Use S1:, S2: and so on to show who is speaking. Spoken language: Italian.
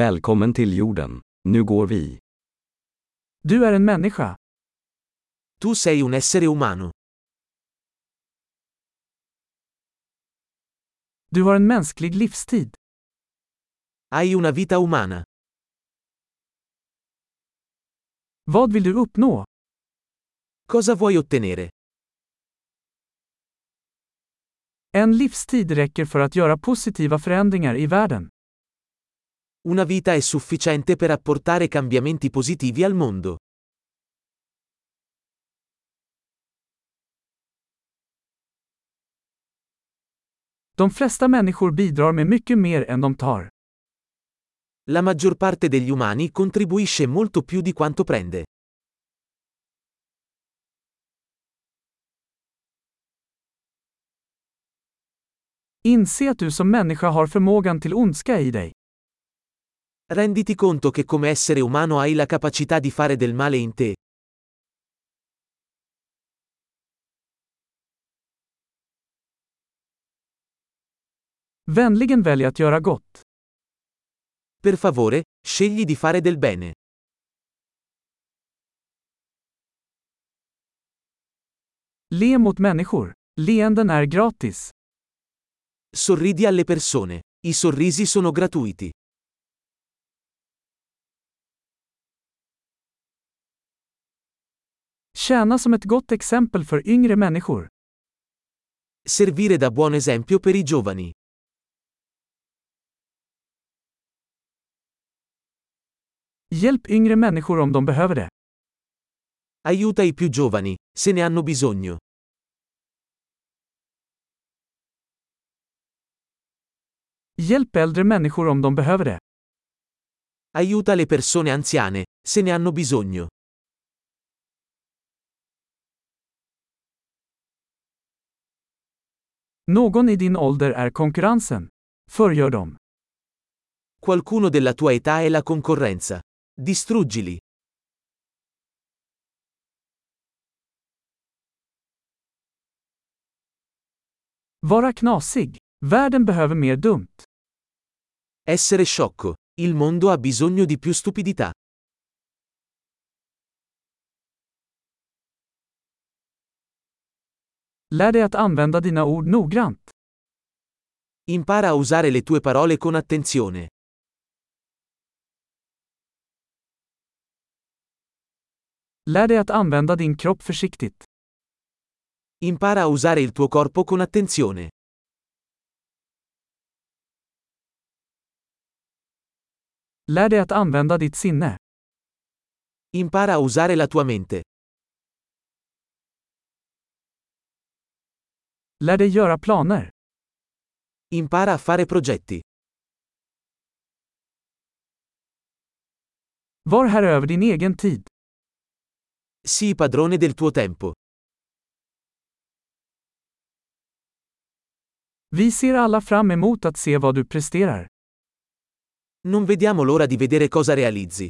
S1: Välkommen till jorden. Nu går vi.
S2: Du är en människa.
S3: Tu sei un essere umano.
S2: Du har en mänsklig livstid.
S3: Hai una vita umana.
S2: Vad vill du uppnå?
S3: Cosa vuoi ottenere?
S2: En livstid räcker för att göra positiva förändringar i världen.
S3: Una vita è sufficiente per apportare cambiamenti positivi al mondo.
S2: De flesta människor bidrar med mycket mer än de tar.
S3: La maggior parte degli umani contribuisce molto più di quanto prende.
S2: Inse att du som människa har förmågan till ondska i dig.
S3: Renditi conto che come essere umano hai la capacità di fare del male in te.
S2: Vänligen välj att göra gott.
S3: Per favore, scegli di fare del bene.
S2: Le mot människor. Leenden är gratis.
S3: Sorridi alle persone. I sorrisi sono gratuiti.
S2: Tjäna som ett gott exempel för yngre människor.
S3: Servire da buon esempio per i giovani.
S2: Hjälp yngre människor om de behöver det.
S3: Aiuta i più giovani, se ne hanno bisogno.
S2: Hjälp äldre människor om de behöver det.
S3: Aiuta le persone anziane, se ne hanno bisogno.
S2: Någon i din ålder är konkurrensen. Förgör dem.
S3: Qualcuno della tua età è la concorrenza. Distruggili.
S2: Vara knasig. Världen behöver mer dumt.
S3: Essere sciocco. Il mondo ha bisogno di più stupidità.
S2: Lär dig att använda dina ord noggrant.
S3: Impara a usare le tue parole con attenzione.
S2: Lär dig att använda din kropp försiktigt.
S3: Impara a usare il tuo corpo con attenzione.
S2: Lär dig att använda ditt sinne.
S3: Impara a usare la tua mente.
S2: Lär dig göra planer.
S3: Impara a fare progetti.
S2: Var här över din egen tid.
S3: Sii padrone del tuo tempo.
S2: Vi ser alla fram emot att se vad du presterar.
S3: Non vediamo l'ora di vedere cosa realizzi.